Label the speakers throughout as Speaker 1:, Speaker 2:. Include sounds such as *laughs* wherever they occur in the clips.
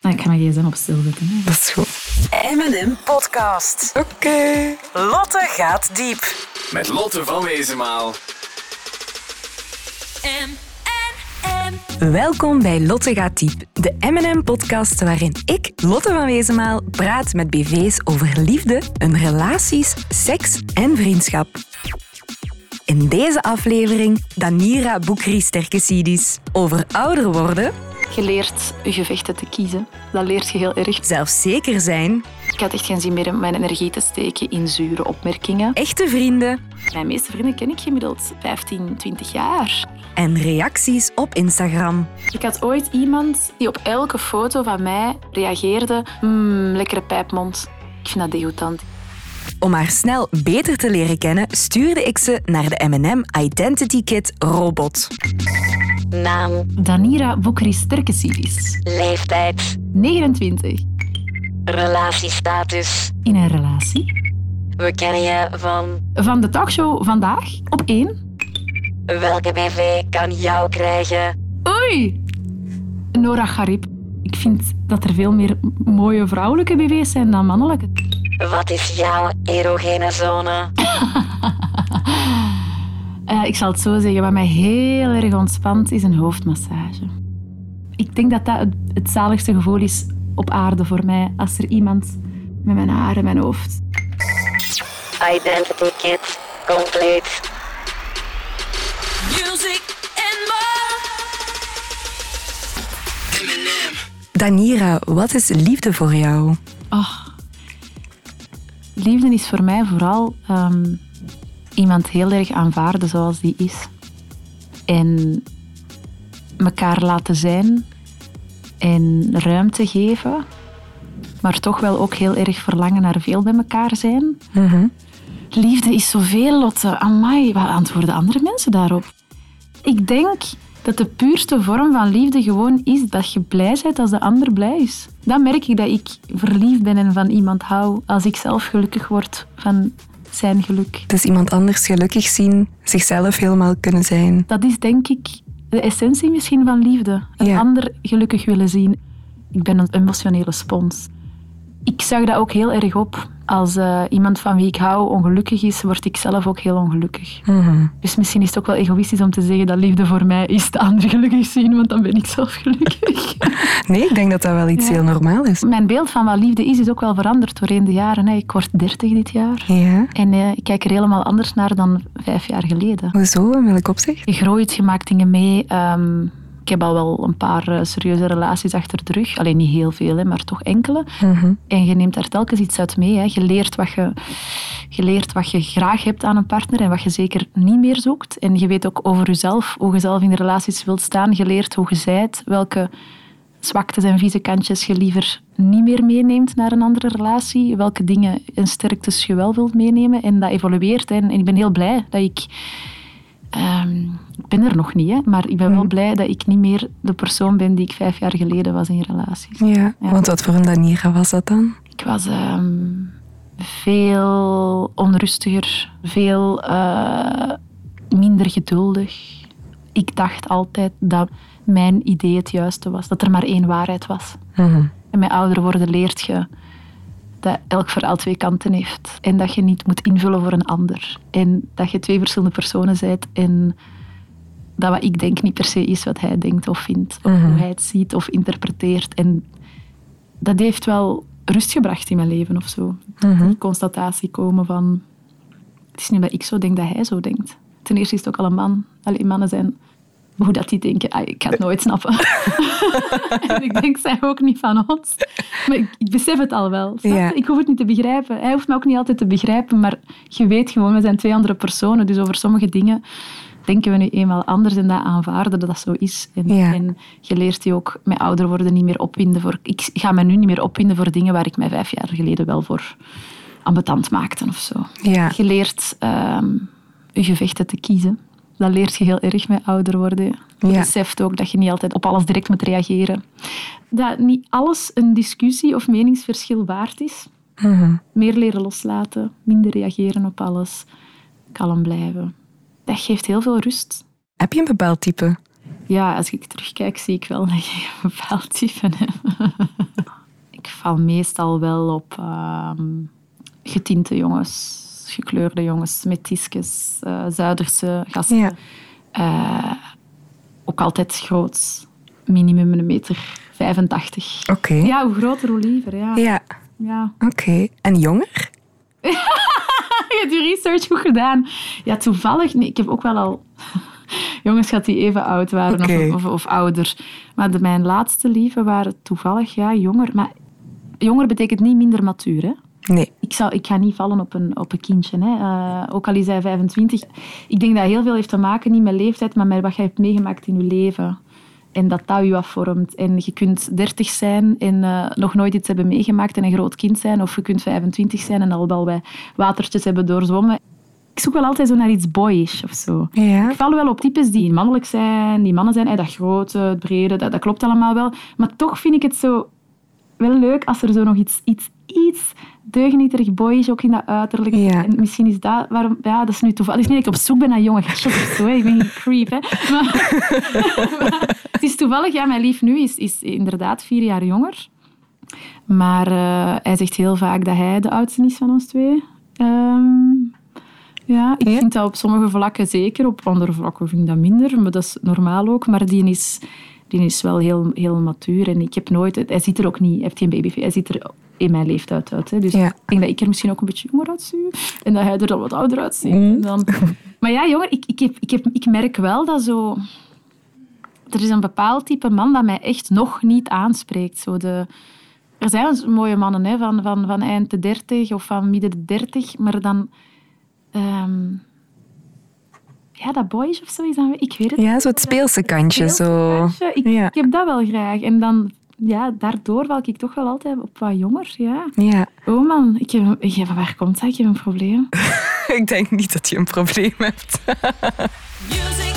Speaker 1: Nou,
Speaker 2: ik ga mijn gsm op stil zetten. hè.
Speaker 3: Dat is goed.
Speaker 4: M&M Podcast.
Speaker 3: Oké.
Speaker 4: Lotte gaat diep.
Speaker 5: Met Lotte van Wezenmaal.
Speaker 3: Welkom bij Lotte gaat diep, de M&M-podcast waarin ik, Lotte van Wezenmaal, praat met BV's over liefde, hun relaties, seks en vriendschap. In deze aflevering Danira Boekri Sterkesidis over ouder worden,
Speaker 1: Je leert je gevechten te kiezen. Dat leert je heel erg.
Speaker 3: zelfzeker zijn,
Speaker 1: Ik had echt geen zin meer om mijn energie te steken in zure opmerkingen.
Speaker 3: echte vrienden
Speaker 1: Mijn meeste vrienden ken ik gemiddeld 15, 20 jaar.
Speaker 3: en reacties op Instagram.
Speaker 1: Ik had ooit iemand die op elke foto van mij reageerde: Mmm, lekkere pijpmond. Ik vind dat degoutant.
Speaker 3: Om haar snel beter te leren kennen, stuurde ik ze naar de M&M Identity Kit robot.
Speaker 6: Naam,
Speaker 1: Danira Boekri Sterkesidis,
Speaker 6: leeftijd,
Speaker 1: 29,
Speaker 6: relatiestatus.
Speaker 1: in een relatie.
Speaker 6: We kennen je van
Speaker 1: Van de talkshow vandaag op 1.
Speaker 6: welke BV kan jou krijgen?
Speaker 1: Oei! Nora Garib. Ik vind dat er veel meer m- mooie vrouwelijke BW's zijn dan mannelijke.
Speaker 6: Wat is jouw erogene zone?
Speaker 1: Eh, ik zal het zo zeggen, wat mij heel erg ontspant is een hoofdmassage. Ik denk dat dat het, het zaligste gevoel is op aarde voor mij, als er iemand met mijn haar en mijn hoofd.
Speaker 6: Identity kit, compleet.
Speaker 3: Danira, wat is liefde voor jou?
Speaker 1: Oh. Liefde is voor mij vooral ehm, iemand heel erg aanvaarden zoals die is. En mekaar laten zijn en ruimte geven, maar toch wel ook heel erg verlangen naar veel bij elkaar zijn. Liefde is zoveel, Lotte. Amai, wat antwoorden andere mensen daarop? Ik denk dat de puurste vorm van liefde gewoon is dat je blij bent als de ander blij is. Dan merk ik dat ik verliefd ben en van iemand hou als ik zelf gelukkig word van zijn geluk.
Speaker 3: Dus iemand anders gelukkig zien, zichzelf helemaal kunnen zijn.
Speaker 1: Dat is denk ik de essentie misschien van liefde. Een
Speaker 3: Ja.
Speaker 1: ander gelukkig willen zien. Ik ben een emotionele spons. Ik zag dat ook heel erg op. Als eh, iemand van wie ik hou ongelukkig is, word ik zelf ook heel ongelukkig.
Speaker 3: Mhm.
Speaker 1: Dus misschien is het ook wel egoïstisch om te zeggen dat liefde voor mij is de ander gelukkig zien, want dan ben ik zelf gelukkig.
Speaker 3: Nee, ik denk dat dat wel iets heel normaal
Speaker 1: *laughs*
Speaker 3: is.
Speaker 1: Mijn beeld van wat liefde is, is ook wel veranderd doorheen de jaren. hè. Ik word 30 dit jaar.
Speaker 3: Ja,
Speaker 1: En eh, ik kijk er helemaal anders naar dan vijf jaar geleden
Speaker 3: hoezo? In welk opzicht?
Speaker 1: gegroeid, je maakt dingen mee. Ehm, ik heb al wel een paar eh, serieuze relaties achter de rug. Alleen niet heel veel, hè, maar toch enkele.
Speaker 3: Mhm.
Speaker 1: En je neemt daar telkens iets uit mee. Hè. Je, leert wat je, je leert wat je graag hebt aan een partner en wat je zeker niet meer zoekt. En je weet ook over jezelf, hoe je zelf in de relaties wilt staan. Je leert hoe je zijt, welke zwaktes en vieze kantjes je liever niet meer meeneemt naar een andere relatie. Welke dingen en sterktes je wel wilt meenemen. En dat evolueert. hè. En ik ben heel blij dat ik Ehm, ik ben er nog niet, hè, maar ik ben wel blij dat ik niet meer de persoon ben die ik vijf jaar geleden was in relaties.
Speaker 3: Ja,
Speaker 1: Ja.
Speaker 3: want wat voor een Danira was dat dan?
Speaker 1: Ik was ehm, veel onrustiger, veel eh, minder geduldig. Ik dacht altijd dat mijn idee het juiste was, dat er maar één waarheid was.
Speaker 3: Mhm.
Speaker 1: En met ouder worden leert je dat elk verhaal twee kanten heeft. En dat je niet moet invullen voor een ander. En dat je twee verschillende personen bent. En dat wat ik denk niet per se is wat hij denkt of vindt. Of hoe hij het ziet of interpreteert. En dat heeft wel rust gebracht in mijn leven of zo. Die constatatie komen van... Het is niet dat ik zo denk dat hij zo denkt. Ten eerste is het ook al een man. Alleen mannen zijn... Hoe dat die denken, ah, ik ga het nooit
Speaker 3: *laughs*
Speaker 1: snappen. en ik denk, zij ook niet van ons. Maar ik, ik besef het al wel. snap je?
Speaker 3: Ja.
Speaker 1: Ik hoef het niet te begrijpen. Hij hoeft me ook niet altijd te begrijpen. Maar je weet gewoon, we zijn twee andere personen. Dus over sommige dingen denken we nu eenmaal anders. En dat aanvaarden dat dat zo is. En,
Speaker 3: Ja.
Speaker 1: en je leert je ook met ouder worden niet meer opwinden voor... Ik ga me nu niet meer opwinden voor dingen waar ik mij vijf jaar geleden wel voor ambetant maakte of zo.
Speaker 3: Ja.
Speaker 1: Je leert ehm, je gevechten te kiezen. Dat leert je heel erg met ouder worden. Je
Speaker 3: Ja.
Speaker 1: beseft ook dat je niet altijd op alles direct moet reageren. Dat niet alles een discussie of meningsverschil waard is.
Speaker 3: Mhm.
Speaker 1: Meer leren loslaten, minder reageren op alles, kalm blijven. Dat geeft heel veel rust.
Speaker 3: Heb je een bepaald type?
Speaker 1: *laughs* Ja, als ik terugkijk, zie ik wel dat je een bepaald type hebt. *laughs* val meestal wel op ehm, getinte jongens, gekleurde jongens, metisques, eh, Zuiderse gasten.
Speaker 2: Ja.
Speaker 1: Eh, ook altijd groot, minimum een meter 85.
Speaker 3: Oké.
Speaker 1: Ja, hoe groter, hoe liever. Ja.
Speaker 3: Ja,
Speaker 1: Ja.
Speaker 3: oké. En jonger?
Speaker 1: *laughs* Je hebt je research goed gedaan. Ja, toevallig. Nee, ik heb ook wel al *laughs* jongens gehad die even oud waren of-
Speaker 3: Oké.
Speaker 1: of, of, ouder. Maar de, mijn laatste lieven waren toevallig ja, jonger. Maar jonger betekent niet minder matuur. Hè?
Speaker 3: Nee.
Speaker 1: Ik, zou, ik ga niet vallen op een, op een kindje. Hè? Eh, ook al is hij 25. Ik denk dat heel veel heeft te maken, niet met leeftijd, maar met wat je hebt meegemaakt in je leven. En dat dat je afvormt. En je kunt 30 zijn en eh, nog nooit iets hebben meegemaakt en een groot kind zijn. Of je kunt 25 zijn en al wel wat watertjes hebben doorzwommen. Ik zoek wel altijd zo naar iets boyish of zo.
Speaker 3: Ja.
Speaker 1: Ik val wel op types die mannelijk zijn, die mannen zijn. Hey, dat grote, het brede, dat, dat klopt allemaal wel. Maar toch vind ik het zo wel leuk als er zo nog iets, iets, iets deugnieterig boy is, ook in dat uiterlijk.
Speaker 3: Ja.
Speaker 1: En misschien is dat waarom... Ja, dat is nu toevallig. Het is niet dat ik op zoek ben naar jonge gastjes of zo. hè. Ik ben geen creep, hè.
Speaker 3: *laughs*
Speaker 1: Maar, *laughs* maar het is toevallig, ja, mijn lief nu is, is inderdaad vier jaar jonger. Maar eh, hij zegt heel vaak dat hij de oudste is van ons twee. Ehm, ja, ik
Speaker 2: Ja.
Speaker 1: vind dat op sommige vlakken zeker. Op andere vlakken vind ik dat minder, maar dat is normaal ook. Maar die is, die is wel heel, heel matuur. En ik heb nooit... Hij ziet er ook niet... Hij heeft geen babyface. Hij ziet er in mijn leeftijd uit. Hè. Dus
Speaker 3: Ja.
Speaker 1: ik denk dat ik er misschien ook een beetje jonger uitzie. En dat hij er dan wat ouder uitziet.
Speaker 3: Mm.
Speaker 1: En Dan... *laughs* Maar ja, jongen, ik, ik, heb, ik, heb, ik merk wel dat zo... Er is een bepaald type man dat mij echt nog niet aanspreekt. Zo de... Er zijn wel mooie mannen hè, van, van, van eind de 30 of van midden de 30, maar dan Ehm, ja, dat boys of zo is dan... Ik weet het
Speaker 3: Ja, zo het speelse kantje. Zo.
Speaker 1: Speeltje, Ik,
Speaker 3: Ja.
Speaker 1: ik heb dat wel graag. En dan, ja, daardoor val ik toch wel altijd op wat jonger, ja.
Speaker 3: Ja.
Speaker 1: Oh man, ik heb, ik heb, waar komt dat? Ik heb een probleem.
Speaker 3: *laughs* Ik denk niet dat je een probleem hebt.
Speaker 7: Music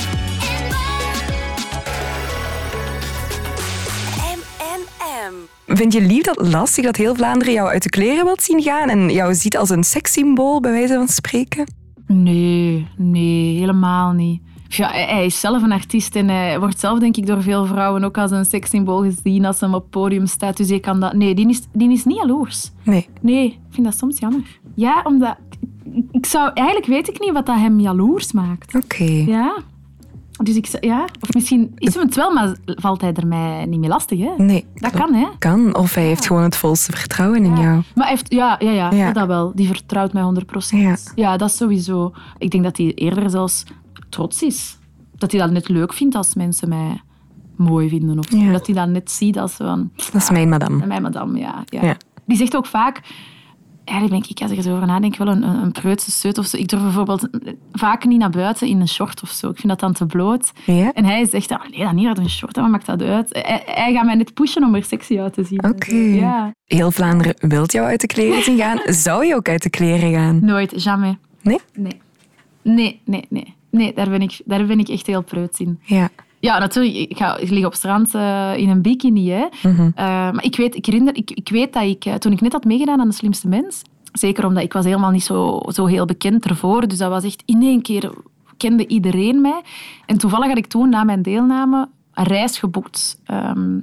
Speaker 7: in
Speaker 4: M&M.
Speaker 3: Vind je lief dat lastig dat heel Vlaanderen jou uit de kleren wilt zien gaan en jou ziet als een sekssymbool, bij wijze van spreken?
Speaker 1: Nee, nee, helemaal niet. Ja, hij- hij is zelf een artiest en hij wordt zelf, denk ik, door veel vrouwen ook als een sekssymbool gezien als hem op het podium staat. Dus je kan dat... Nee, die is, die is niet jaloers.
Speaker 3: Nee.
Speaker 1: Nee, ik vind dat soms jammer. Ja, omdat... Ik zou... Eigenlijk weet ik niet wat dat hem jaloers maakt.
Speaker 3: Oké.
Speaker 1: Ja. Dus ik... zou- Ja. Of misschien is hem het wel, maar valt hij er mij niet mee lastig, hè?
Speaker 3: Nee.
Speaker 1: Dat kan, hè?
Speaker 3: Kan. Of hij heeft gewoon het volste vertrouwen in jou.
Speaker 1: Maar hij heeft, ja, ja, ja,
Speaker 3: Ja.
Speaker 1: dat wel. Die vertrouwt mij 100%. Ja.
Speaker 3: Ja.
Speaker 1: dat sowieso. Ik denk dat hij eerder zelfs trots is. Dat hij dat net leuk vindt als mensen mij mooi vinden. Of zo.
Speaker 3: Ja.
Speaker 1: dat hij dat net ziet als van...
Speaker 3: Dat is mijn madame.
Speaker 1: En mijn madame, ja. ja.
Speaker 3: Ja.
Speaker 1: Die zegt ook vaak... Eigenlijk denk ik, als ik er zo over nadenk, wel een, een preutse seut of zo. Ik durf bijvoorbeeld vaak niet naar buiten in een short of zo. Ik vind dat dan te bloot.
Speaker 3: Ja?
Speaker 1: En hij zegt, ah, nee, dan niet uit een short, wat maakt dat uit? Hij, hij gaat mij net pushen om er sexy uit te zien.
Speaker 3: Oké.
Speaker 1: Ja.
Speaker 3: Heel Vlaanderen wilt jou uit de kleren zien gaan. Zou je ook uit de kleren gaan?
Speaker 1: Nooit, jamais.
Speaker 3: Nee?
Speaker 1: Nee. Nee, nee, nee. Nee, daar ben ik, daar ben ik echt heel preuts in.
Speaker 3: Ja.
Speaker 1: Ja, natuurlijk, ik, ga, ik lig op strand eh, in een bikini, hè.
Speaker 3: Mhm.
Speaker 1: Eh, maar ik weet, ik herinner, ik, ik weet dat ik, eh, toen ik net had meegedaan aan De Slimste Mens, zeker omdat ik was helemaal niet zo, zo heel bekend ervoor, dus dat was echt in één keer kende iedereen mij. En toevallig had ik toen, na mijn deelname, een reis geboekt. Ehm,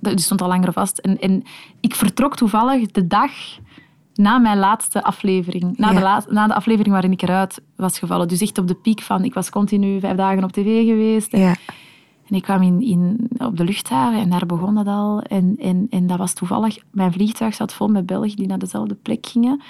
Speaker 1: dat die stond al langer vast. En, en ik vertrok toevallig de dag na mijn laatste aflevering. Na,
Speaker 3: Ja.
Speaker 1: de laat- na de aflevering waarin ik eruit was gevallen. Dus echt op de piek van... Ik was continu vijf dagen op tv geweest.
Speaker 3: Ja.
Speaker 1: En ik kwam in, in, op de luchthaven en daar begon dat al. En, en, en dat was toevallig... Mijn vliegtuig zat vol met Belgen die naar dezelfde plek gingen.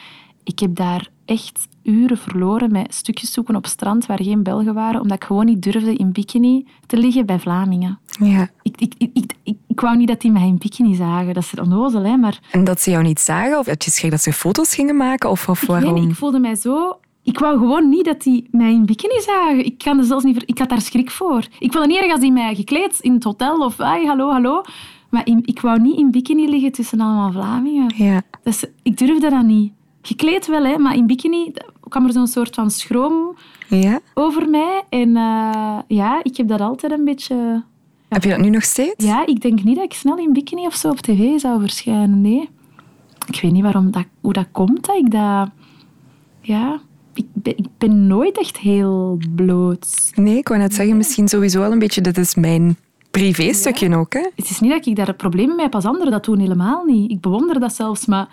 Speaker 1: Ik heb daar echt uren verloren met stukjes zoeken op strand waar geen Belgen waren. Omdat ik gewoon niet durfde in bikini te liggen bij Vlamingen.
Speaker 3: Ja.
Speaker 1: Ik, ik, ik, ik, ik, ik wou niet dat die mij in bikini zagen. Dat is onnozel, hè. Maar
Speaker 3: En dat ze jou niet zagen? Of had je schrik dat ze foto's gingen maken? Of, of
Speaker 1: Ik weet niet,
Speaker 3: waarom?
Speaker 1: Ik, voelde mij zo... Ik wou gewoon niet dat die mij in bikini zagen. Ik, kan er zelfs niet ver- ik had daar schrik voor. Ik wilde niet erg als die mij gekleed in het hotel of... Ai, hallo, hallo. Maar in- ik wou niet in bikini liggen tussen allemaal Vlamingen.
Speaker 3: Ja.
Speaker 1: Dus ik durfde dat niet. Gekleed wel, hè, maar in bikini dat- kwam er zo'n soort van schroom
Speaker 3: Ja?
Speaker 1: over mij. En eh, ja, ik heb dat altijd een beetje...
Speaker 3: Heb je dat nu nog steeds?
Speaker 1: Ja, ik denk niet dat ik snel in bikini of zo op tv zou verschijnen. Nee. Ik weet niet waarom dat, hoe dat komt dat ik dat. Ja, ik ben, ik ben nooit echt heel bloot.
Speaker 3: Nee, ik wou net zeggen, misschien sowieso wel een beetje, dit is mijn Privé-stukje ook, hè?
Speaker 1: Het is niet dat ik daar problemen mee heb als anderen. Dat doen helemaal niet. Ik bewonder dat zelfs. Maar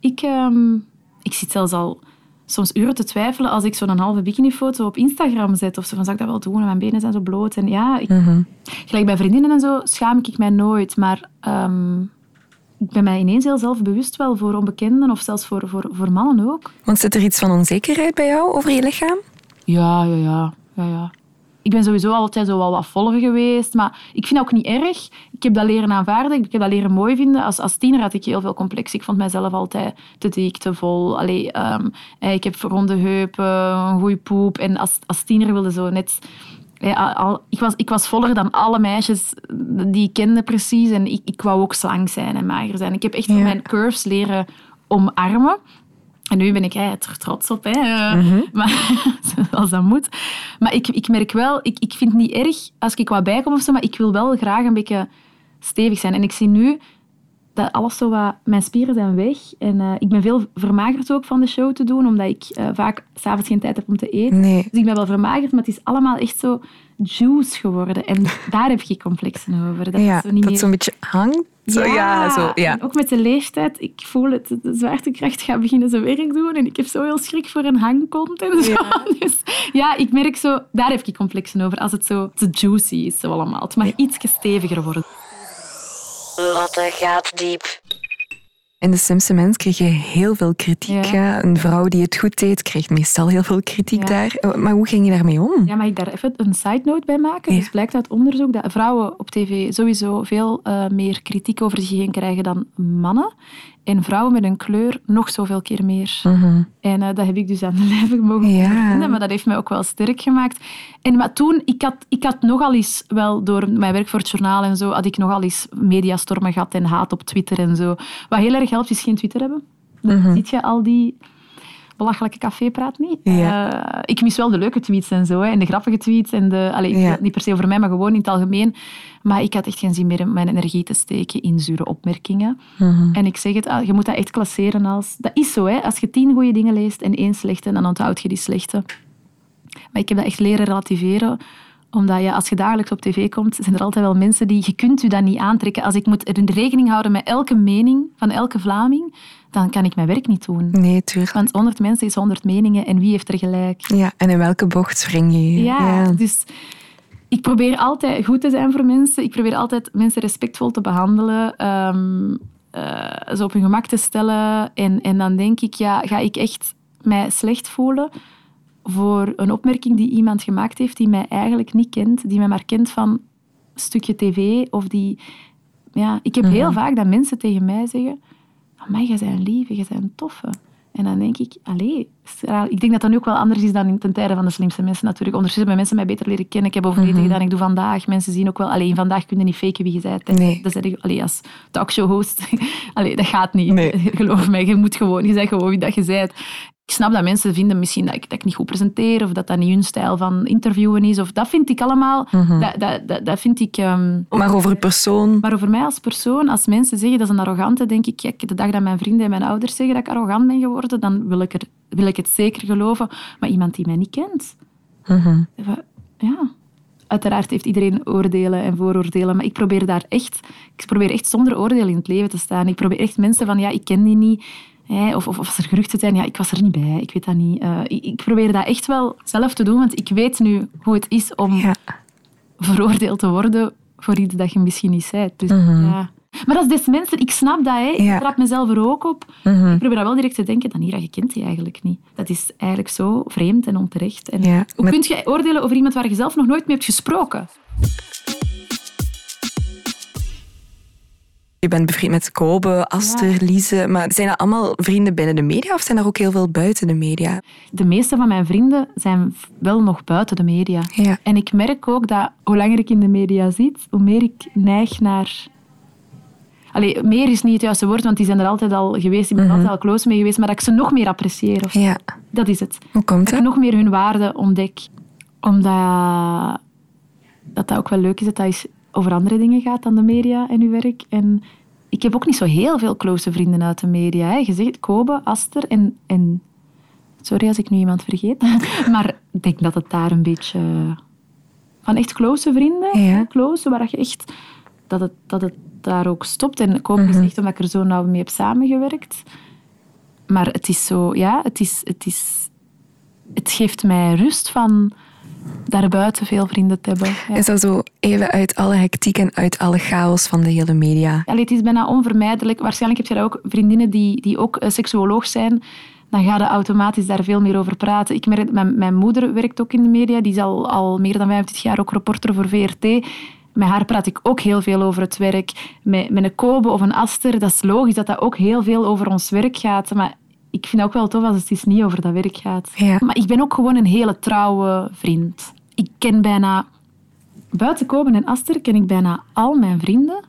Speaker 1: ik, ehm, ik zit zelfs al soms uren te twijfelen als ik zo'n halve bikinifoto op Instagram zet. Of zo van, zou ik dat wel doen? En mijn benen zijn zo bloot. En ja, ik, gelijk bij vriendinnen en zo schaam ik mij nooit. Maar ehm, ik ben mij ineens heel zelfbewust wel voor onbekenden of zelfs voor, voor, voor mannen ook.
Speaker 3: Want zit er iets van onzekerheid bij jou over je lichaam?
Speaker 1: Ja, ja, ja. ja, ja. Ik ben sowieso altijd zo wel wat voller geweest. Maar ik vind dat ook niet erg. Ik heb dat leren aanvaarden. Ik heb dat leren mooi vinden. Als, als tiener had ik heel veel complex. Ik vond mijzelf altijd te dik, te vol. Allee, ehm, eh, ik heb ronde heupen, een goede poep. En als, als tiener wilde zo net... eh, al- al, ik, was, ik was voller dan alle meisjes die ik kende precies. En ik, ik wou ook slank zijn en mager zijn. Ik heb echt
Speaker 3: Ja.
Speaker 1: mijn curves leren omarmen. En nu ben ik hey, er trots op, hè. Eh, maar, *laughs* als dat moet. Maar ik, ik merk wel, ik, ik vind het niet erg als ik wat bijkom of zo, maar ik wil wel graag een beetje stevig zijn. En ik zie nu dat alles zo wat... Mijn spieren zijn weg. En eh, ik ben veel vermagerd ook van de show te doen, omdat ik eh, vaak s'avonds geen tijd heb om te eten.
Speaker 3: Nee.
Speaker 1: Dus ik ben wel vermagerd, maar het is allemaal echt zo juice geworden. En *laughs* daar heb ik complexen over. Dat
Speaker 3: ja,
Speaker 1: is zo niet
Speaker 3: dat
Speaker 1: meer...
Speaker 3: zo'n beetje hangt. Zo, ja. zo, ja.
Speaker 1: en ook met de leeftijd. Ik voel het. De zwaartekracht gaat beginnen zijn werk doen. En ik heb zo heel schrik voor een hangkont en zo. *laughs* Dus ja, ik merk zo... Daar heb ik complexen over. Als het zo te juicy is, zo allemaal. Het mag iets steviger worden.
Speaker 6: Lotte gaat diep.
Speaker 3: In de Simpsons kreeg je heel veel kritiek.
Speaker 1: Ja.
Speaker 3: hè. Een vrouw die het goed deed, kreeg meestal heel veel
Speaker 1: Ja.
Speaker 3: kritiek daar. Oh, Maar hoe ging je daarmee om?
Speaker 1: Ja, mag ik daar even een side note bij maken?
Speaker 3: Hmm. Ja.
Speaker 1: Dus blijkt uit onderzoek dat vrouwen op tv sowieso veel eh, meer kritiek over zich heen krijgen dan mannen. En vrouwen met een kleur nog zoveel keer meer. En eh, dat heb ik dus aan de *laughs* lijve mogen
Speaker 3: Mhm. Ja.
Speaker 1: ondervinden, maar dat heeft mij ook wel sterk gemaakt. En maar toen, ik had, ik had nogal eens, wel door mijn werk voor het journaal en zo, had ik nogal eens mediastormen gehad en haat op Twitter en zo. Wat heel erg helpt, is geen Twitter hebben. Dan
Speaker 3: Mhm.
Speaker 1: ziet je al die belachelijke cafépraat niet.
Speaker 3: Ja.
Speaker 1: Eh, ik mis wel de leuke tweets en zo, hè, en de grappige tweets. En de, allee, ik
Speaker 3: Ja.
Speaker 1: wil het niet per se over mij, maar gewoon in het algemeen. Maar ik had echt geen zin meer om mijn energie te steken in zure opmerkingen. En ik zeg het, ah, je moet dat echt klasseren als... Dat is zo, hè. Als je tien goede dingen leest en één slechte, dan onthoud je die slechte. Maar ik heb dat echt leren relativeren omdat je, als je dagelijks op tv komt, zijn er altijd wel mensen die... Je kunt u dat niet aantrekken. Als ik moet er rekening houden met elke mening van elke Vlaming, dan kan ik mijn werk niet doen.
Speaker 3: Nee, tuurlijk.
Speaker 1: Want 100 mensen is 100 meningen en wie heeft er gelijk?
Speaker 3: Ja, en in welke bocht wring je? je?
Speaker 1: Ja, dus ik probeer altijd goed te zijn voor mensen. Ik probeer altijd mensen respectvol te behandelen. ehm, eh, ze op hun gemak te stellen. En, en dan denk ik, ja, ga ik echt mij slecht voelen voor een opmerking die iemand gemaakt heeft die mij eigenlijk niet kent. Die mij maar kent van een stukje tv of die... Ja, ik heb
Speaker 3: Mhm.
Speaker 1: heel vaak dat mensen tegen mij zeggen... Amai, jij bent lief, jij bent een toffe. En dan denk ik, allee, straal. Ik denk dat dat nu ook wel anders is dan in ten tijde van de slimste mensen natuurlijk. Ondertussen hebben mensen mij beter leren kennen. Ik heb overleden
Speaker 3: Mhm.
Speaker 1: gedaan, ik doe vandaag. Mensen zien ook wel, alleen vandaag kun je niet faken wie je bent. hè.
Speaker 3: Nee.
Speaker 1: Dat zeg ik, allee, als talkshow-host, *laughs* allee, dat gaat niet.
Speaker 3: Nee.
Speaker 1: *laughs* Geloof mij, je moet gewoon, je bent gewoon wie dat je bent. Ik snap dat mensen vinden misschien dat ik, dat ik niet goed presenteer of dat dat niet hun stijl van interviewen is. Of dat vind ik allemaal, dat, dat, dat, dat vind ik... ehm,
Speaker 3: Maar over persoon.
Speaker 1: maar over mij als persoon, als mensen zeggen dat ze een arrogante, denk ik, kijk, de dag dat mijn vrienden en mijn ouders zeggen dat ik arrogant ben geworden, dan wil ik, er, wil ik het zeker geloven. Maar iemand die mij niet kent, wa- ja. Uiteraard heeft iedereen oordelen en vooroordelen, maar ik probeer daar echt, ik probeer echt zonder oordeel in het leven te staan. Ik probeer echt mensen van, ja, ik ken die niet. Hè, of, of of als er geruchten zijn, ja, ik was er niet bij, ik weet dat niet. Eh, ik, ik probeer dat echt wel zelf te doen, want ik weet nu hoe het is om
Speaker 3: Ja.
Speaker 1: veroordeeld te worden voor iets dat je misschien niet zei. Dus, ja. Maar als des mensen, ik snap dat, hè. ik
Speaker 3: Mhm. Ja. Mhm.
Speaker 1: trap mezelf er ook op. Ik probeer dan wel direct te denken, dan hier, je kent die eigenlijk niet. Dat is eigenlijk zo vreemd en onterecht. En
Speaker 3: Ja,
Speaker 1: hoe
Speaker 3: met-
Speaker 1: kun je oordelen over iemand waar je zelf nog nooit mee hebt gesproken?
Speaker 3: Je bent bevriend met Kobe, Aster, Lise. Maar zijn dat allemaal vrienden binnen de media of zijn er ook heel veel buiten de media?
Speaker 1: De meeste van mijn vrienden zijn v- wel nog buiten de media.
Speaker 3: Ja.
Speaker 1: En ik merk ook dat hoe langer ik in de media zit, hoe meer ik neig naar... Allee, meer is niet het juiste woord, want die zijn er altijd al geweest. Ik ben
Speaker 3: Mhm.
Speaker 1: altijd al close mee geweest. Maar dat ik ze nog meer apprecieer. Of zo.
Speaker 3: Ja.
Speaker 1: Dat is het.
Speaker 3: Hoe komt
Speaker 1: Dat ik
Speaker 3: dat?
Speaker 1: nog meer hun waarde ontdek. Omdat dat, dat ook wel leuk is dat dat eens over andere dingen gaat dan de media en uw werk. En ik heb ook niet zo heel veel close vrienden uit de media. Hè. Je zegt Kobe, Aster en, en... *laughs* Sorry als ik nu iemand vergeet. maar ik denk dat het daar een beetje Van echt close vrienden,
Speaker 3: Ja.
Speaker 1: close, waar dat je echt... Dat het, dat het daar ook stopt. En ik hoop dus echt omdat ik er zo nauw mee heb samengewerkt. Maar het is zo... Ja, het is... Het, is, het geeft mij rust van daarbuiten veel vrienden te hebben. Ja.
Speaker 3: Is dat zo even uit alle hectiek en uit alle chaos van de hele media?
Speaker 1: Allee, het is bijna onvermijdelijk. Waarschijnlijk heb je daar ook vriendinnen die, die ook eh, seksuoloog zijn. Dan ga je automatisch daar veel meer over praten. Ik merk, mijn, mijn moeder werkt ook in de media. Die is al, al meer dan 25 jaar ook reporter voor VRT. Met haar praat ik ook heel veel over het werk. Met, met een Kobe of een Aster, dat is logisch dat dat ook heel veel over ons werk gaat. Maar ik vind het ook wel tof als het eens niet over dat werk gaat.
Speaker 3: Ja.
Speaker 1: Maar ik ben ook gewoon een hele trouwe vriend. Ik ken bijna... Buiten Kobe en Aster ken ik bijna al mijn vrienden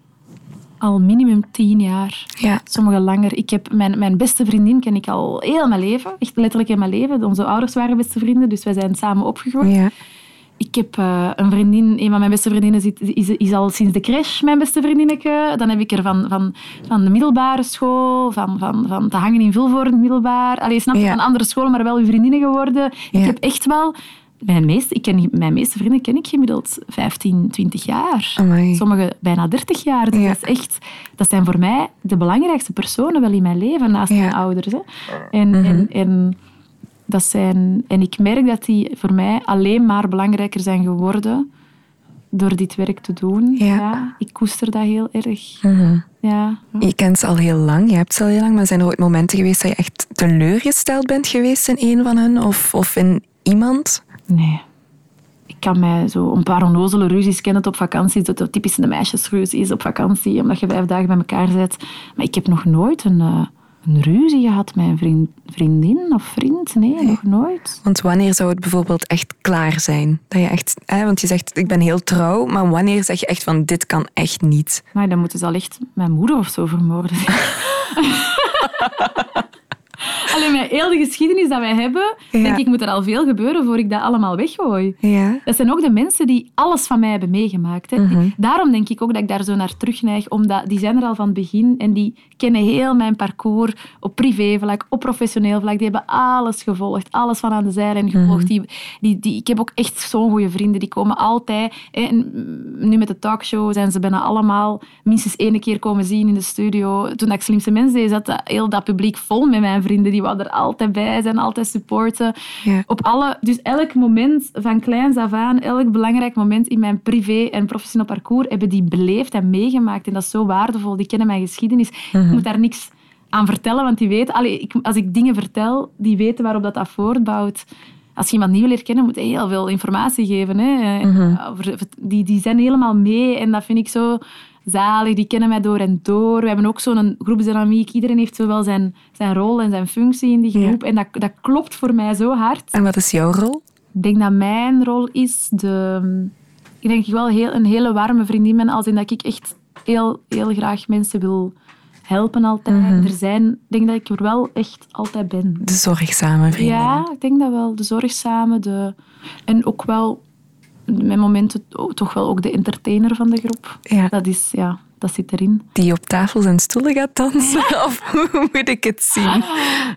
Speaker 1: al minimum tien jaar.
Speaker 3: Ja.
Speaker 1: Sommigen langer. Ik heb mijn, mijn beste vriendin ken ik al heel mijn leven. Echt letterlijk in mijn leven. Onze ouders waren beste vrienden, dus wij zijn samen opgegroeid.
Speaker 3: Ja.
Speaker 1: Ik heb eh, een vriendin, een van mijn beste vriendinnen zit- is, is al sinds de crash mijn beste vriendinnetje. Dan heb ik er van, van, van de middelbare school, van, van, van te hangen in Vilvoorde middelbaar. Allee, snap je,
Speaker 3: Ja.
Speaker 1: van andere scholen, maar wel uw vriendinnen geworden.
Speaker 3: Ja.
Speaker 1: Ik heb echt wel... Mijn, meest, ik ken, mijn meeste vrienden ken ik gemiddeld 15, 20 jaar.
Speaker 3: Amai.
Speaker 1: Sommige bijna 30 jaar. Dus
Speaker 3: Ja.
Speaker 1: dat, is echt, dat zijn voor mij de belangrijkste personen wel in mijn leven, naast
Speaker 3: Ja. Mhm.
Speaker 1: mijn ouders. Hè. En, en, en, dat zijn, en ik merk dat die voor mij alleen maar belangrijker zijn geworden door dit werk te doen.
Speaker 3: Ja. Mhm.
Speaker 1: ik koester dat heel erg. Ja.
Speaker 3: Je kent ze al heel lang, je hebt ze al heel lang, maar zijn er ooit momenten geweest dat je echt teleurgesteld bent geweest in een van hen of, of in iemand?
Speaker 1: Nee. Ik kan mij zo een paar onnozele ruzies kennen op vakantie. Dat dat typisch een meisjesruzie is op vakantie, omdat je vijf dagen bij elkaar bent. Maar ik heb nog nooit een, eh, een ruzie gehad met een vriend, vriendin of vriend. Nee, nog nooit.
Speaker 3: Want wanneer zou het bijvoorbeeld echt klaar zijn? Dat je echt, hè, want je zegt, ik ben heel trouw, maar wanneer zeg je echt van, dit kan echt niet?
Speaker 1: Maar dan moeten ze al echt mijn moeder of zo vermoorden. Alleen met heel de geschiedenis dat wij hebben,
Speaker 3: Ja.
Speaker 1: denk ik, moet er al veel gebeuren voor ik dat allemaal weggooi.
Speaker 3: Ja. Mhm.
Speaker 1: Dat zijn ook de mensen die alles van mij hebben meegemaakt. Hè. Daarom denk ik ook dat ik daar zo naar terugneig, omdat die zijn er al van het begin en die kennen heel mijn parcours op privévlak, op professioneel vlak. Die hebben alles gevolgd, alles van aan de zijlijn
Speaker 3: Mhm.
Speaker 1: gevolgd. Die, die, die, ik heb ook echt zo'n goede vrienden, die komen altijd. Hè, en mm, nu met de talkshow zijn ze bijna allemaal minstens één keer komen zien in de studio. Toen ik Slimste Mens deed, zat dat, heel dat publiek vol met mijn vrienden. Die waren er altijd bij, zijn altijd supporten.
Speaker 3: Ja.
Speaker 1: Op alle, dus elk moment van kleins af aan, elk belangrijk moment in mijn privé- en professioneel parcours, hebben die beleefd en meegemaakt. En dat is zo waardevol. Die kennen mijn geschiedenis.
Speaker 3: Mhm.
Speaker 1: Ik moet daar niks aan vertellen, want die weten... Allee, ik, als ik dingen vertel, die weten waarop dat, dat voortbouwt. Als je iemand nieuw leert kennen, moet je heel veel informatie geven. Hè?
Speaker 3: Mhm.
Speaker 1: Over- die, die zijn helemaal mee en dat vind ik zo zalig. Die kennen mij door en door. We hebben ook zo'n groepsdynamiek. Iedereen heeft zo wel zijn, zijn rol en zijn functie in die
Speaker 3: Ja.
Speaker 1: groep. En dat, dat klopt voor mij zo hard.
Speaker 3: En wat is jouw rol?
Speaker 1: Ik denk dat mijn rol is de... Ik denk dat ik wel heel, een hele warme vriendin ben, als in dat ik echt heel, heel graag mensen wil helpen altijd. Er zijn... Ik denk dat ik er wel echt altijd ben.
Speaker 3: De zorgzame vrienden.
Speaker 1: Ja, ik denk dat wel. De zorgzame, de... En ook wel, mijn momenten, to- toch wel ook de entertainer van de groep.
Speaker 3: Ja.
Speaker 1: Dat is, ja, dat zit erin.
Speaker 3: Die op tafels en stoelen gaat dansen?
Speaker 1: *laughs*
Speaker 3: Of hoe moet ik het zien?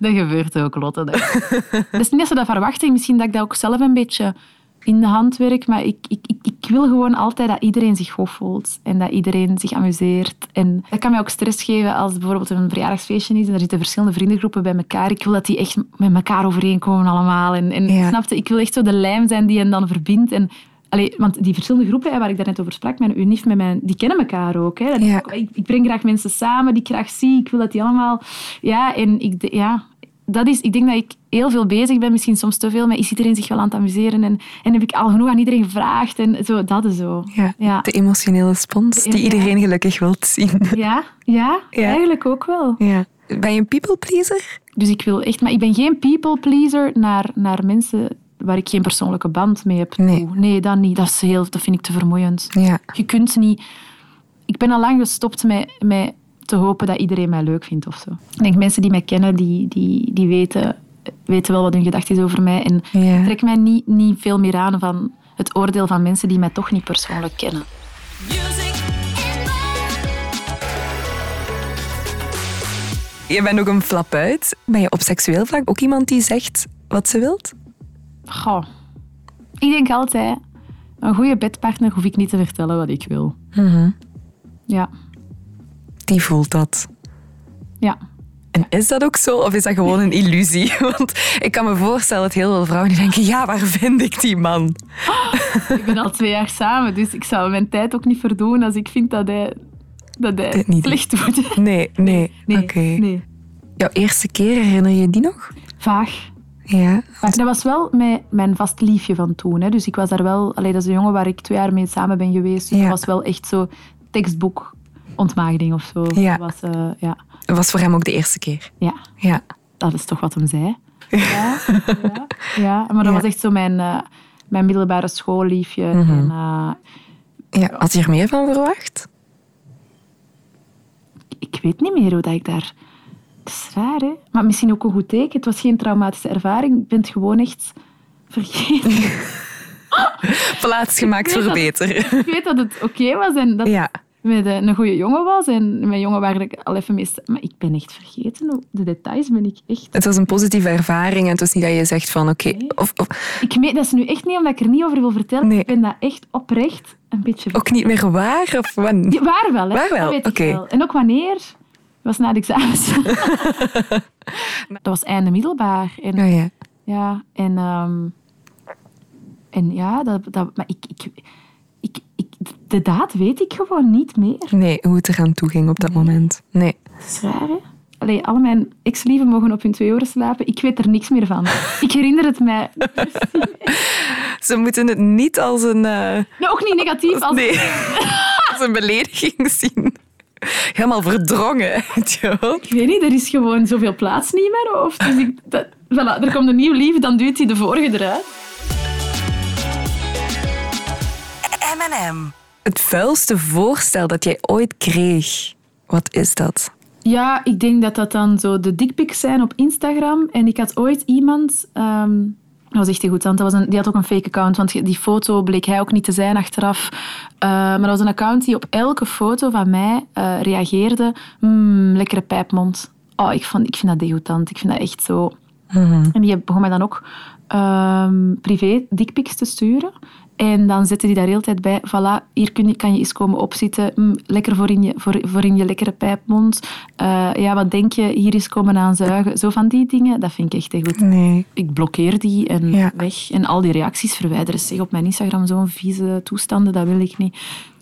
Speaker 1: Dat gebeurt ook, Lotte. Dat... dat is niet dat ze dat verwachten. Misschien dat ik dat ook zelf een beetje in de hand werk. Maar ik, ik, ik, ik wil gewoon altijd dat iedereen zich goed voelt. En dat iedereen zich amuseert. En dat kan mij ook stress geven als bijvoorbeeld een verjaardagsfeestje is. En er zitten verschillende vriendengroepen bij elkaar. Ik wil dat die echt met elkaar overeenkomen allemaal. En, en
Speaker 3: Ja.
Speaker 1: snap je? Ik wil echt zo de lijm zijn die hen dan verbindt. En, Allee, want die verschillende groepen hè, waar ik daarnet over sprak, mijn UNIF, met mijn, die kennen elkaar ook. Hè. Dat is
Speaker 3: Ja.
Speaker 1: ook- ik, ik breng graag mensen samen die ik graag zie. Ik wil dat die allemaal... Ja, en ik, de- ja, dat is, ik denk dat ik heel veel bezig ben, misschien soms te veel, maar is iedereen zich wel aan het amuseren? En, en heb ik al genoeg aan iedereen gevraagd? En zo, dat is zo.
Speaker 3: Ja,
Speaker 1: Ja.
Speaker 3: De emotionele spons die
Speaker 1: Ja.
Speaker 3: iedereen gelukkig wilt zien.
Speaker 1: Ja, ja,
Speaker 3: Ja.
Speaker 1: eigenlijk ook wel.
Speaker 3: Ja. Ben je een people pleaser?
Speaker 1: Dus ik wil echt... Maar ik ben geen people pleaser naar, naar mensen waar ik geen persoonlijke band mee heb.
Speaker 3: Nee.
Speaker 1: nee dat niet. Dat, is heel, dat vind ik te vermoeiend.
Speaker 3: Ja.
Speaker 1: Je kunt niet... Ik ben al lang gestopt met, met te hopen dat iedereen mij leuk vindt of zo. Ik denk, mensen die mij kennen, die, die, die weten, weten wel wat hun gedachte is over mij. En
Speaker 3: Ja.
Speaker 1: ik trek mij niet, niet veel meer aan van het oordeel van mensen die mij toch niet persoonlijk kennen.
Speaker 7: Music in my
Speaker 3: Je bent ook een flap uit. Ben je op seksueel vlak ook iemand die zegt wat ze wilt?
Speaker 1: Goh. Ik denk altijd... Een goede bedpartner hoef ik niet te vertellen wat ik wil.
Speaker 3: Mhm.
Speaker 1: Ja,
Speaker 3: Die voelt dat.
Speaker 1: ja.
Speaker 3: En is dat ook zo, of is dat gewoon een illusie? *laughs* Want ik kan me voorstellen dat heel veel vrouwen die denken, ja, waar vind ik die man?
Speaker 1: Ik ben al twee jaar samen, dus ik zou mijn tijd ook niet verdoen als ik vind dat hij, dat hij
Speaker 3: Dit niet
Speaker 1: slecht doet.
Speaker 3: Nee, nee,
Speaker 1: Nee,
Speaker 3: oké.
Speaker 1: nee.
Speaker 3: Jouw eerste keer, herinner je die nog?
Speaker 1: Vaag.
Speaker 3: Ja.
Speaker 1: Maar dat was wel mijn, mijn vast liefje van toen. Hè. Dus ik was daar wel... Allee, dat is een jongen waar ik twee jaar mee samen ben geweest. Dus
Speaker 3: Ja.
Speaker 1: dat was wel echt zo tekstboek ontmaagding of zo.
Speaker 3: Ja.
Speaker 1: Dat was, eh, ja.
Speaker 3: Dat was voor hem ook de eerste keer.
Speaker 1: ja,
Speaker 3: Ja.
Speaker 1: dat is toch wat hem zei. Ja, ja, ja. maar dat
Speaker 3: Ja. Mhm.
Speaker 1: was echt zo mijn, eh, mijn middelbare schoolliefje. En, eh,
Speaker 3: ja. Had je er meer van verwacht?
Speaker 1: ik weet niet meer hoe dat ik daar... Dat is raar, hè? Maar misschien ook een goed teken. Het was geen traumatische ervaring. Ik ben het gewoon echt vergeten. *laughs*
Speaker 3: Plaatsgemaakt
Speaker 1: Ik weet
Speaker 3: voor
Speaker 1: dat-
Speaker 3: beter.
Speaker 1: ik weet dat het oké was en dat
Speaker 3: Ja.
Speaker 1: het met eh, een goede jongen was. En mijn jongen waar ik al even mee... sta- Maar ik ben echt vergeten. hoe- De details ben ik echt...
Speaker 3: Het was een positieve ervaring en het was niet dat je zegt van oké, of, of
Speaker 1: Ik meen, dat is nu echt niet omdat ik er niet over wil vertellen.
Speaker 3: Nee.
Speaker 1: Ik ben dat echt oprecht een beetje...
Speaker 3: ook niet meer waar of wanneer.
Speaker 1: Ja, waar wel, hè?
Speaker 3: Waar wel,
Speaker 1: Dat weet ik
Speaker 3: oké.
Speaker 1: wel. En ook wanneer? was na de examens.
Speaker 3: *laughs*
Speaker 1: dat was einde middelbaar. En
Speaker 3: Ja, ja.
Speaker 1: Ja, en, ehm, en ja, dat, dat, maar ik, ik, ik, ik, de daad weet ik gewoon niet meer.
Speaker 3: Nee, hoe het eraan toe ging op dat moment. Nee.
Speaker 1: Dat is raar, hè? Allee, al mijn ex-lieven mogen op hun twee oren slapen. Ik weet er niks meer van. Ik herinner het mij.
Speaker 3: Ze moeten het niet als een, eh,
Speaker 1: Nou, ook niet negatief. Als...
Speaker 3: *laughs* nee, als een belediging zien. Helemaal verdrongen *laughs* uit je hoofd.
Speaker 1: Ik weet niet, er is gewoon zoveel plaats niet meer. Of, dus ik, dat, voilà, er komt een nieuw lief, dan duwt hij de vorige eruit.
Speaker 4: M&M.
Speaker 3: Het vuilste voorstel dat jij ooit kreeg, wat is dat?
Speaker 1: Ja, ik denk dat dat dan zo de dickpics zijn op Instagram. En ik had ooit iemand... ehm, dat was echt een goed tante. Dat was een, die had ook een fake account, want die foto bleek hij ook niet te zijn achteraf. Eh, maar dat was een account die op elke foto van mij eh, reageerde. "Mm, lekkere pijpmond. Oh, ik, vond, ik vind dat degoutant. Ik vind dat echt zo... En die begon mij dan ook ehm, privé dickpics te sturen. En dan zette die daar heel de tijd bij. Voilà, hier kun je, kan je eens komen opzitten. Mm, lekker voor in, je, voor, voor in je lekkere pijpmond. Eh, ja, wat denk je? Hier eens komen aanzuigen. Zo van die dingen, dat vind ik echt heel goed.
Speaker 3: Nee.
Speaker 1: Ik blokkeer die en
Speaker 3: Ja.
Speaker 1: weg. En al die reacties verwijderen. Zeg, op mijn Instagram zo'n vieze toestanden, dat wil ik niet.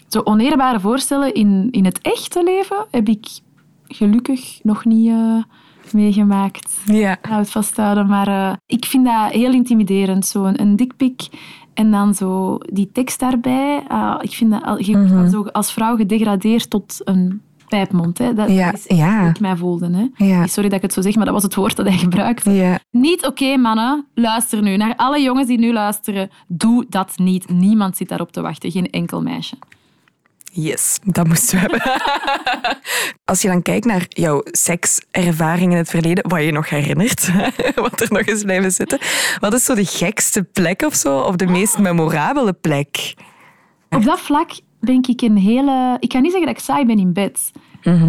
Speaker 1: Zo oneerbare voorstellen in, in het echte leven heb ik gelukkig nog niet eh, meegemaakt
Speaker 3: Ja.
Speaker 1: houd vasthouden. Maar eh, ik vind dat heel intimiderend, zo'n een, een dikpik. En dan zo die tekst daarbij. Ah, ik vind dat, al- je
Speaker 3: Mhm.
Speaker 1: wordt dan zo als vrouw gedegradeerd tot een pijpmond. Hè. Dat
Speaker 3: Ja,
Speaker 1: is echt
Speaker 3: ja.
Speaker 1: hoe ik mij voelde. Hè.
Speaker 3: Ja.
Speaker 1: Sorry dat ik het zo zeg, maar dat was het woord dat hij gebruikte.
Speaker 3: Ja.
Speaker 1: Niet oké, mannen. Luister nu. Naar alle jongens die nu luisteren. Doe dat niet. Niemand zit daarop te wachten. Geen enkel meisje.
Speaker 3: Yes, dat moesten we hebben. *laughs* Als je dan kijkt naar jouw sekservaring in het verleden, wat je nog herinnert, *laughs* wat er nog eens blijven zitten, wat is zo de gekste plek of zo, of de *gasps* meest memorabele plek?
Speaker 1: Op dat vlak ben ik een hele... Ik kan niet zeggen dat ik saai ben in bed.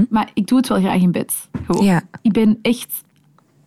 Speaker 1: Maar ik doe het wel graag in bed. Gewoon.
Speaker 3: Mhm. Ja.
Speaker 1: Ik ben echt...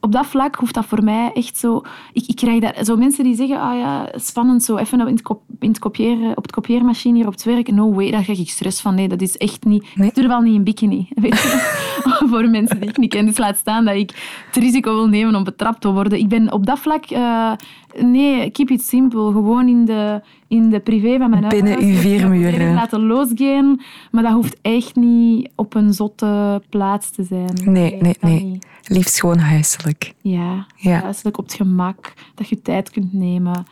Speaker 1: Op dat vlak hoeft dat voor mij echt zo... Ik, ik krijg daar zo mensen die zeggen, ah ja, spannend zo, even op, in het kop, in het kopiëren, op het kopieermachine hier op het werk. No way, daar krijg ik stress van. Nee, dat is echt niet...
Speaker 3: Nee.
Speaker 1: Ik durf al niet in bikini. *laughs* Weet je? voor mensen die ik niet ken. Dus laat staan dat ik het risico wil nemen om betrapt te worden. Ik ben op dat vlak... eh, nee, keep it simple. Gewoon in de, in de privé van mijn
Speaker 3: Binnen
Speaker 1: huis.
Speaker 3: uw vier
Speaker 1: Ik
Speaker 3: muren.
Speaker 1: probeer het laten losgaan. Maar dat hoeft echt niet op een zotte plaats te zijn.
Speaker 3: Nee, nee,
Speaker 1: dat
Speaker 3: nee.
Speaker 1: niet.
Speaker 3: Liefst gewoon huiselijk.
Speaker 1: Ja,
Speaker 3: Ja.
Speaker 1: huiselijk op het gemak. Dat je tijd kunt nemen.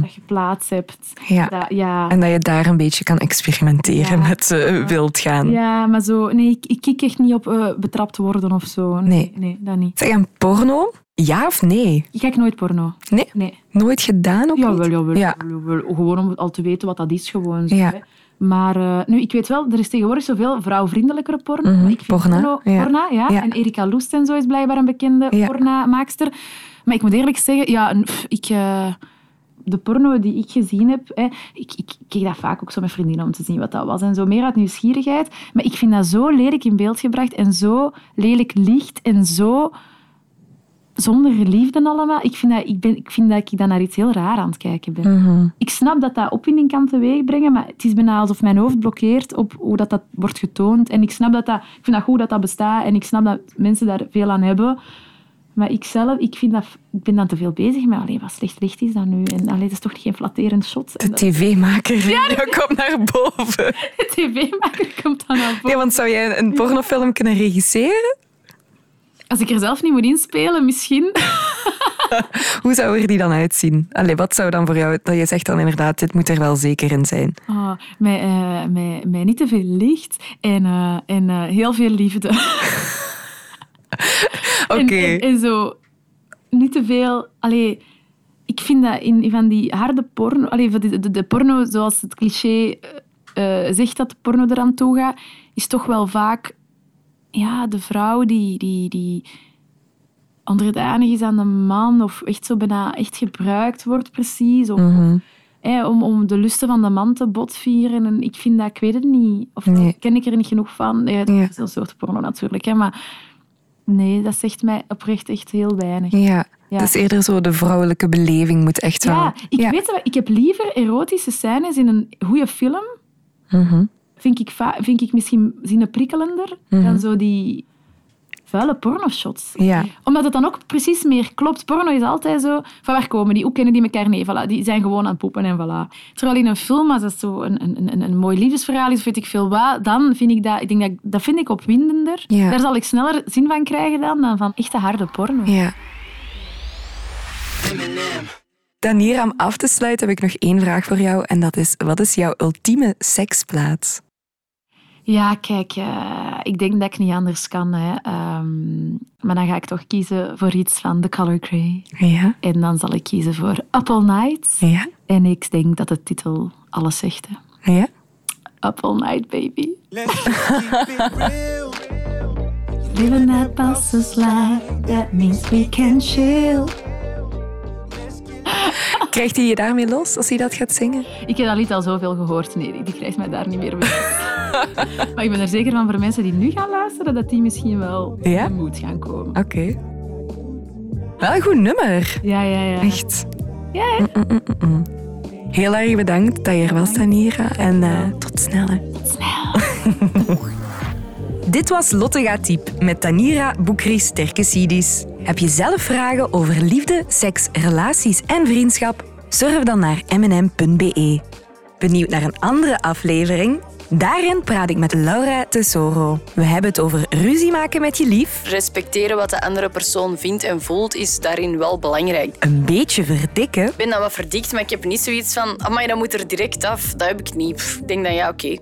Speaker 1: Dat je plaats hebt.
Speaker 3: Mhm. Ja.
Speaker 1: Dat, ja.
Speaker 3: En dat je daar een beetje kan experimenteren
Speaker 1: Ja.
Speaker 3: met eh, wild gaan.
Speaker 1: ja, maar zo... Nee, ik, ik kik echt niet op eh, betrapt worden of zo.
Speaker 3: Nee.
Speaker 1: Nee, dat niet.
Speaker 3: Zeg, en porno? Ja of nee?
Speaker 1: Ik kijk nooit porno.
Speaker 3: Nee?
Speaker 1: Nee.
Speaker 3: Nooit gedaan ook
Speaker 1: Jawel,
Speaker 3: niet?
Speaker 1: jawel,
Speaker 3: Ja.
Speaker 1: jawel. Gewoon om al te weten wat dat is. Gewoon zo,
Speaker 3: Ja.
Speaker 1: hè. Maar eh, nu, ik weet wel, er is tegenwoordig zoveel vrouwvriendelijkere porno.
Speaker 3: Mhm,
Speaker 1: maar ik vind
Speaker 3: porna,
Speaker 1: porno-
Speaker 3: ja.
Speaker 1: porna, ja.
Speaker 3: Ja.
Speaker 1: En Erika Loest en zo is blijkbaar een bekende
Speaker 3: Ja.
Speaker 1: porna-maakster. Maar ik moet eerlijk zeggen, ja, en, pff, ik... eh, de porno die ik gezien heb, hè, ik, ik ik keek dat vaak ook zo met vriendinnen om te zien wat dat was. En zo meer uit nieuwsgierigheid. Maar ik vind dat zo lelijk in beeld gebracht en zo lelijk licht en zo zonder liefde allemaal. Ik vind, dat, ik, ben, ik vind dat ik dan naar iets heel raar aan het kijken ben. Ik snap dat dat opwinding kan teweegbrengen, maar het is bijna alsof mijn hoofd blokkeert op hoe dat, dat wordt getoond. En ik snap dat dat... Ik vind dat goed dat dat bestaat en ik snap dat mensen daar veel aan hebben. Maar ik zelf, ik, vind dat, ik ben dan te veel bezig met allee, wat slecht licht is dat nu? En allee, dat is toch geen flatterend shot? En
Speaker 3: De tv-maker *laughs* ja, komt naar
Speaker 1: *laughs*
Speaker 3: boven.
Speaker 1: de tv-maker komt dan naar
Speaker 3: Nee,
Speaker 1: boven.
Speaker 3: want zou jij een pornofilm kunnen regisseren?
Speaker 1: *laughs* Als ik er zelf niet moet inspelen, misschien...
Speaker 3: Hoe zou er die dan uitzien? Allee, wat zou dan voor jou... Dat je zegt dan inderdaad, dit moet er wel zeker in zijn.
Speaker 1: Ah, met, eh, met, met niet te veel licht en, eh, en eh, heel veel liefde.
Speaker 3: Oké.
Speaker 1: En- En, en zo, niet te veel... Allee, ik vind dat in in van die harde porno... Allee, van die- de, de porno, zoals het cliché eh, eh, zegt dat de porno eraan toe gaat, is toch wel vaak ja, de vrouw die, die, die onderdanig is aan de man of echt zo bijna echt gebruikt wordt precies. Of,
Speaker 3: Mhm.
Speaker 1: hè, om, om de lusten van de man te botvieren. En ik vind dat, ik weet het niet. Of
Speaker 3: Nee.
Speaker 1: ken ik er niet genoeg van? Nee, het
Speaker 3: Ja.
Speaker 1: is een soort porno natuurlijk. Hè, maar nee, dat zegt mij oprecht echt heel weinig.
Speaker 3: Ja.
Speaker 1: Ja.
Speaker 3: Dus eerder zo de vrouwelijke beleving moet echt wel...
Speaker 1: Ja, ik weet wel, ik heb liever erotische scènes in een goede film.
Speaker 3: Mhm.
Speaker 1: Vind ik, va- vind ik misschien zinnenprikkelender dan zo die vuile pornoshots.
Speaker 3: Ja.
Speaker 1: Omdat het dan ook precies meer klopt. Porno is altijd zo, van waar komen die? Hoe kennen die elkaar? Nee, voilà, die zijn gewoon aan het poepen en voilà. Terwijl in een film, als dat zo een, een, een, een mooi liefdesverhaal is, of weet ik veel wat, dan vind ik dat, ik denk dat, dat vind ik opwindender.
Speaker 3: Ja.
Speaker 1: Daar zal ik sneller zin van krijgen dan, dan van echte harde porno.
Speaker 3: Ja. Dan hier om af te sluiten heb ik nog één vraag voor jou. En dat is, wat is jouw ultieme seksplaats?
Speaker 1: Ja, kijk, eh, ik denk dat ik niet anders kan. Hè. Ehm, maar dan ga ik toch kiezen voor iets van The Color Grey.
Speaker 3: Ja.
Speaker 1: En dan zal ik kiezen voor Apple Nights.
Speaker 3: Ja.
Speaker 1: En ik denk dat de titel alles zegt. Hè.
Speaker 3: Ja.
Speaker 1: Apple Night Baby.
Speaker 2: Let's keep it real.
Speaker 1: Living that boss's life, that means we can chill.
Speaker 3: Krijgt hij je daarmee los als hij dat gaat zingen?
Speaker 1: Ik heb dat lied al zoveel gehoord. Nee, die krijgt mij daar niet meer
Speaker 3: *laughs*
Speaker 1: weg. maar ik ben er zeker van voor mensen die nu gaan luisteren, dat die misschien wel
Speaker 3: Ja?
Speaker 1: in moed gaan komen.
Speaker 3: Oké. Wel een goed nummer.
Speaker 1: Ja, ja, ja.
Speaker 3: Echt. Mm,
Speaker 1: Ja, hè?
Speaker 3: Heel erg bedankt dat je er was, Danira. En eh, tot snel. hè. *laughs* Dit was Lotte gaat diep met Tanira Boekris Terkesidis. Heb je zelf vragen over liefde, seks, relaties en vriendschap? Surf dan naar mnm.be. E. Benieuwd naar een andere aflevering? Daarin praat ik met Laura Tesoro. We hebben het over ruzie maken met je lief,
Speaker 8: Respecteren wat de andere persoon vindt en voelt is daarin wel belangrijk.
Speaker 3: een beetje verdikken
Speaker 8: Ik ben dan wat verdikt, maar ik heb niet zoiets van... Amai, dat moet er direct af. Dat heb ik niet. Pff, ik denk dan, ja, oké. Ik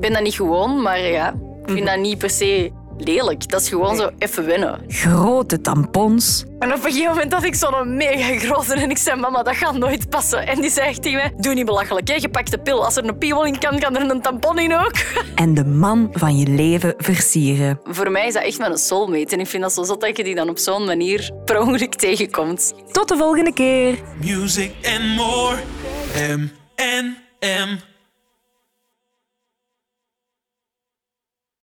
Speaker 8: ben dat niet gewoon, maar ja. Ik vind dat niet per se lelijk. Dat is gewoon zo even wennen.
Speaker 3: grote tampons.
Speaker 8: En op een gegeven moment had ik zo'n mega grote en ik zei, mama, dat gaat nooit passen. En die zei echt tegen mij, doe niet belachelijk, hè. je pakt de pil. Als er een piemel in kan, kan er een tampon in ook.
Speaker 3: En de man van je leven versieren.
Speaker 8: Voor mij is dat echt mijn soulmate. En ik vind dat zo zot dat je die dan op zo'n manier per ongeluk tegenkomt.
Speaker 3: Tot de volgende keer!
Speaker 2: Music and more. M N M